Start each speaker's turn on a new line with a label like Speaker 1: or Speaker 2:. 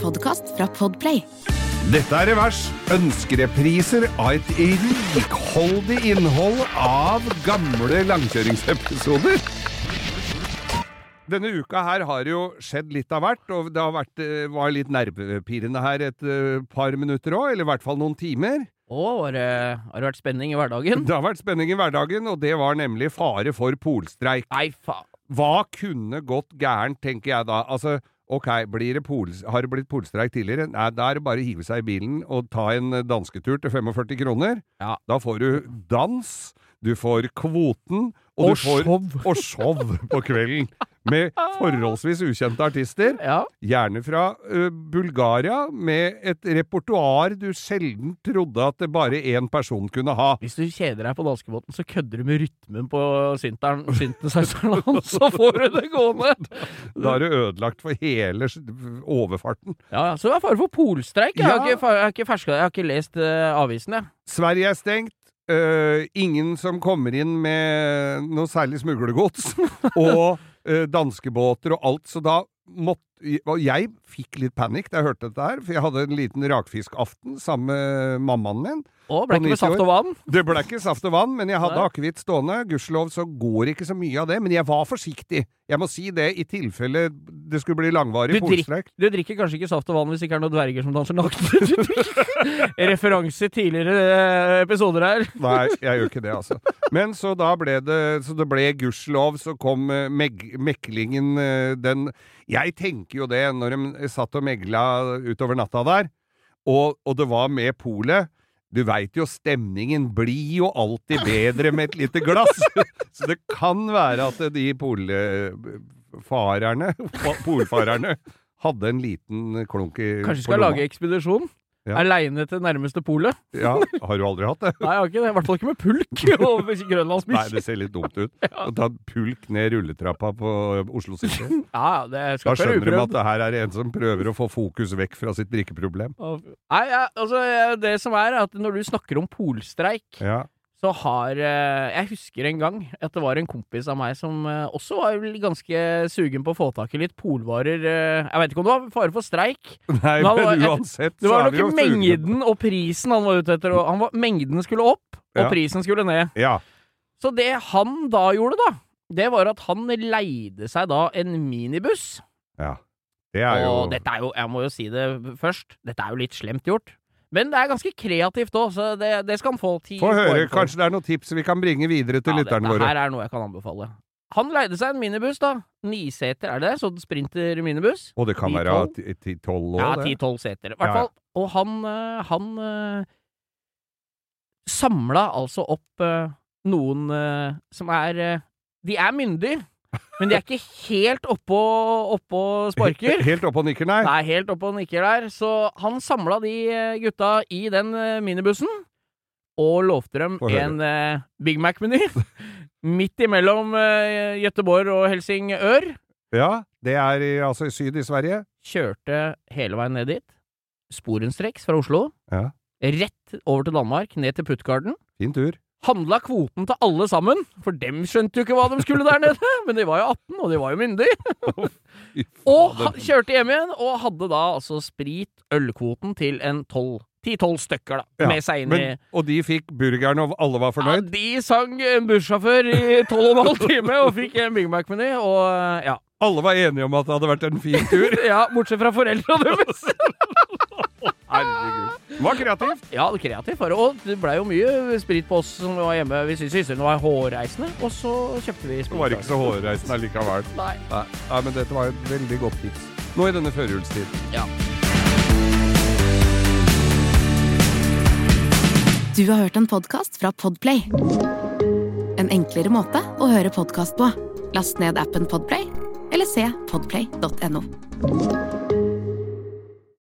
Speaker 1: podkast fra Podplay.
Speaker 2: Dette er Revers. Ønskerepriser av et rikholdig innhold av gamle langkjøringsepisoder. Denne uka her har det jo skjedd litt av hvert, og det har vært, eh, var litt nervepirrende her et eh, par minutter òg, eller i hvert fall noen timer.
Speaker 3: Å, har det, har det vært spenning i hverdagen?
Speaker 2: Det har vært spenning i hverdagen, og det var nemlig fare for polstreik.
Speaker 3: Nei, faen.
Speaker 2: Hva kunne gått gærent, tenker jeg da. Altså, ok, blir det pols- har det blitt polstreik tidligere? Nei, da er det bare å hive seg i bilen og ta en eh, dansketur til 45 kroner.
Speaker 3: Ja.
Speaker 2: Da får du dans, du får kvoten, og, du får
Speaker 3: Og show.
Speaker 2: og show på kvelden. Med forholdsvis ukjente artister,
Speaker 3: Ja.
Speaker 2: gjerne fra eh, Bulgaria, med et repertoar du sjelden trodde at det bare én person kunne ha.
Speaker 3: Hvis du kjeder deg på danskebåten, så kødder du med rytmen på synteren, synthesizeren hans, så får du det gående!
Speaker 2: Da er det ødelagt for hele s- overfarten.
Speaker 3: Ja, ja, så det er fare for polstreik. Jeg, har
Speaker 2: Ja.
Speaker 3: ikke, fa- jeg, har ikke ferska, jeg har ikke lest eh, avisen, jeg.
Speaker 2: Sverige er stengt. eh, ingen som kommer inn med noe særlig smuglergods. og eh, danskebåter og alt. Så da måtte Og jeg fikk litt panikk da jeg hørte dette her, for jeg hadde en liten rakfiskaften sammen med mammaen min.
Speaker 3: Å, ble
Speaker 2: På
Speaker 3: ikke med saft
Speaker 2: 90
Speaker 3: og vann?
Speaker 2: Det ble ikke saft og vann, men jeg hadde
Speaker 3: Nei.
Speaker 2: akevitt stående. Gudskjelov så går ikke så mye av det, men jeg var forsiktig. Jeg må si det i tilfelle det skulle bli langvarig
Speaker 3: Du drikker-
Speaker 2: polstreik.
Speaker 3: Du drikker kanskje ikke saft og vann hvis det ikke er noen dverger som danser nakne? Referanse tidligere eh, episoder her.
Speaker 2: Nei, jeg gjør ikke det, altså. Men så da ble det Så det ble gudskjelov, så kom eh, meg, meklingen eh, den Jeg tenker jo det, når de satt og megla utover natta der, og, og det var med polet du veit jo stemningen blir jo alltid bedre med et lite glass. Så det kan være at de polfarerne fa- Polfarerne hadde en liten klunk i
Speaker 3: Kanskje vi
Speaker 2: på
Speaker 3: skal
Speaker 2: lomma.
Speaker 3: lage ekspedisjon?
Speaker 2: Ja.
Speaker 3: Aleine til nærmeste polet?
Speaker 2: Ja, har du aldri hatt det?
Speaker 3: Nei, jeg har ikke det. I hvert fall ikke med pulk og
Speaker 2: Nei,
Speaker 3: grønlandsbikkje.
Speaker 2: det ser litt dumt ut. Å ta en pulk ned rulletrappa på Oslo City.
Speaker 3: Ja, ja, det
Speaker 2: Da
Speaker 3: skal ikke være
Speaker 2: skjønner de at
Speaker 3: uprøvd.
Speaker 2: det her er en som prøver å få fokus vekk fra sitt drikkeproblem.
Speaker 3: Nei, ja, altså, jeg- det som er, er at når du snakker om polstreik,
Speaker 2: Ja.
Speaker 3: så har eh, Jeg husker en gang at det var en kompis av meg som eh, også var vel ganske sugen på å få tak i litt polvarer. eh, Jeg vet ikke om det var fare for streik.
Speaker 2: Nei,
Speaker 3: Da var-
Speaker 2: men uansett
Speaker 3: Det
Speaker 2: så
Speaker 3: var
Speaker 2: er vi jo
Speaker 3: nok
Speaker 2: sugne på-
Speaker 3: mengden og prisen han var ute etter. Og han var, mengden skulle opp, og
Speaker 2: Ja.
Speaker 3: prisen skulle ned.
Speaker 2: Ja.
Speaker 3: Så det han da gjorde, da, det var at han leide seg da en minibuss.
Speaker 2: ja. Det er jo
Speaker 3: Og dette er jo, jeg må jo si det først, dette er jo litt slemt gjort. Men det er ganske kreativt òg, så det, det skal han få ti
Speaker 2: Få høre,
Speaker 3: poeng for.
Speaker 2: kanskje det er noen tips vi kan bringe videre til lytterne
Speaker 3: dette
Speaker 2: våre.
Speaker 3: her er noe jeg kan anbefale. Han leide seg en minibuss, da. Niseter, er det det? Sånn sprinter minibuss?
Speaker 2: Og det kan være
Speaker 3: 10-12?
Speaker 2: ti- ti- tolv
Speaker 3: Ja,
Speaker 2: år, det.
Speaker 3: ti-tolv seter. I
Speaker 2: Ja,
Speaker 3: hvert
Speaker 2: ja.
Speaker 3: fall. Og han, eh, han eh, samla altså opp eh, noen eh, som er eh, De er myndige, men de er ikke helt oppå, oppå sparker.
Speaker 2: Helt opp og nikker, nei.
Speaker 3: Nei, helt oppe og nikker der. Så han samla de eh, gutta i den eh, minibussen og lovte dem
Speaker 2: Få høre.
Speaker 3: en eh, Big Mac-meny midt imellom eh, Gøteborg og Helsingør.
Speaker 2: Ja, det er i, altså i syd i Sverige.
Speaker 3: Kjørte hele veien ned dit. Sporenstreks fra Oslo.
Speaker 2: Ja.
Speaker 3: Rett over til Danmark, ned til Puttgarden.
Speaker 2: Fin tur.
Speaker 3: Handla kvoten til alle sammen, for dem skjønte jo ikke hva de skulle der nede. Men de var jo 18, og de var jo myndige. Og ha- kjørte hjem igjen, og hadde da altså sprit, ølkvoten, til en 12 10-12 stykker, da.
Speaker 2: Ja,
Speaker 3: med seg inn i
Speaker 2: Men, og de fikk burgeren, og alle var
Speaker 3: ja,
Speaker 2: fornøyd?
Speaker 3: De sang en bussjåfør i 12,5 time og fikk en Big Mac-meny, og eh, ja.
Speaker 2: Alle var enige om at det hadde vært en fin tur?
Speaker 3: ja bortsett fra foreldra deres.
Speaker 2: Herregud. Det var kreativt.
Speaker 3: Ja, det kreativt. bare. Og det blei jo mye sprit på oss som var hjemme. Vi syntes søstrene var hårreisende, og så kjøpte vi
Speaker 2: Det
Speaker 3: sprit.
Speaker 2: var ikke så hårreisende allikevel.
Speaker 3: Nei.
Speaker 2: Nei. Nei, men dette var et veldig godt tips. Nå i denne førjulstiden.
Speaker 1: Du har hørt en podkast fra Podplay. En enklere måte å høre podkast på. Last ned appen Podplay, eller se podplay.no.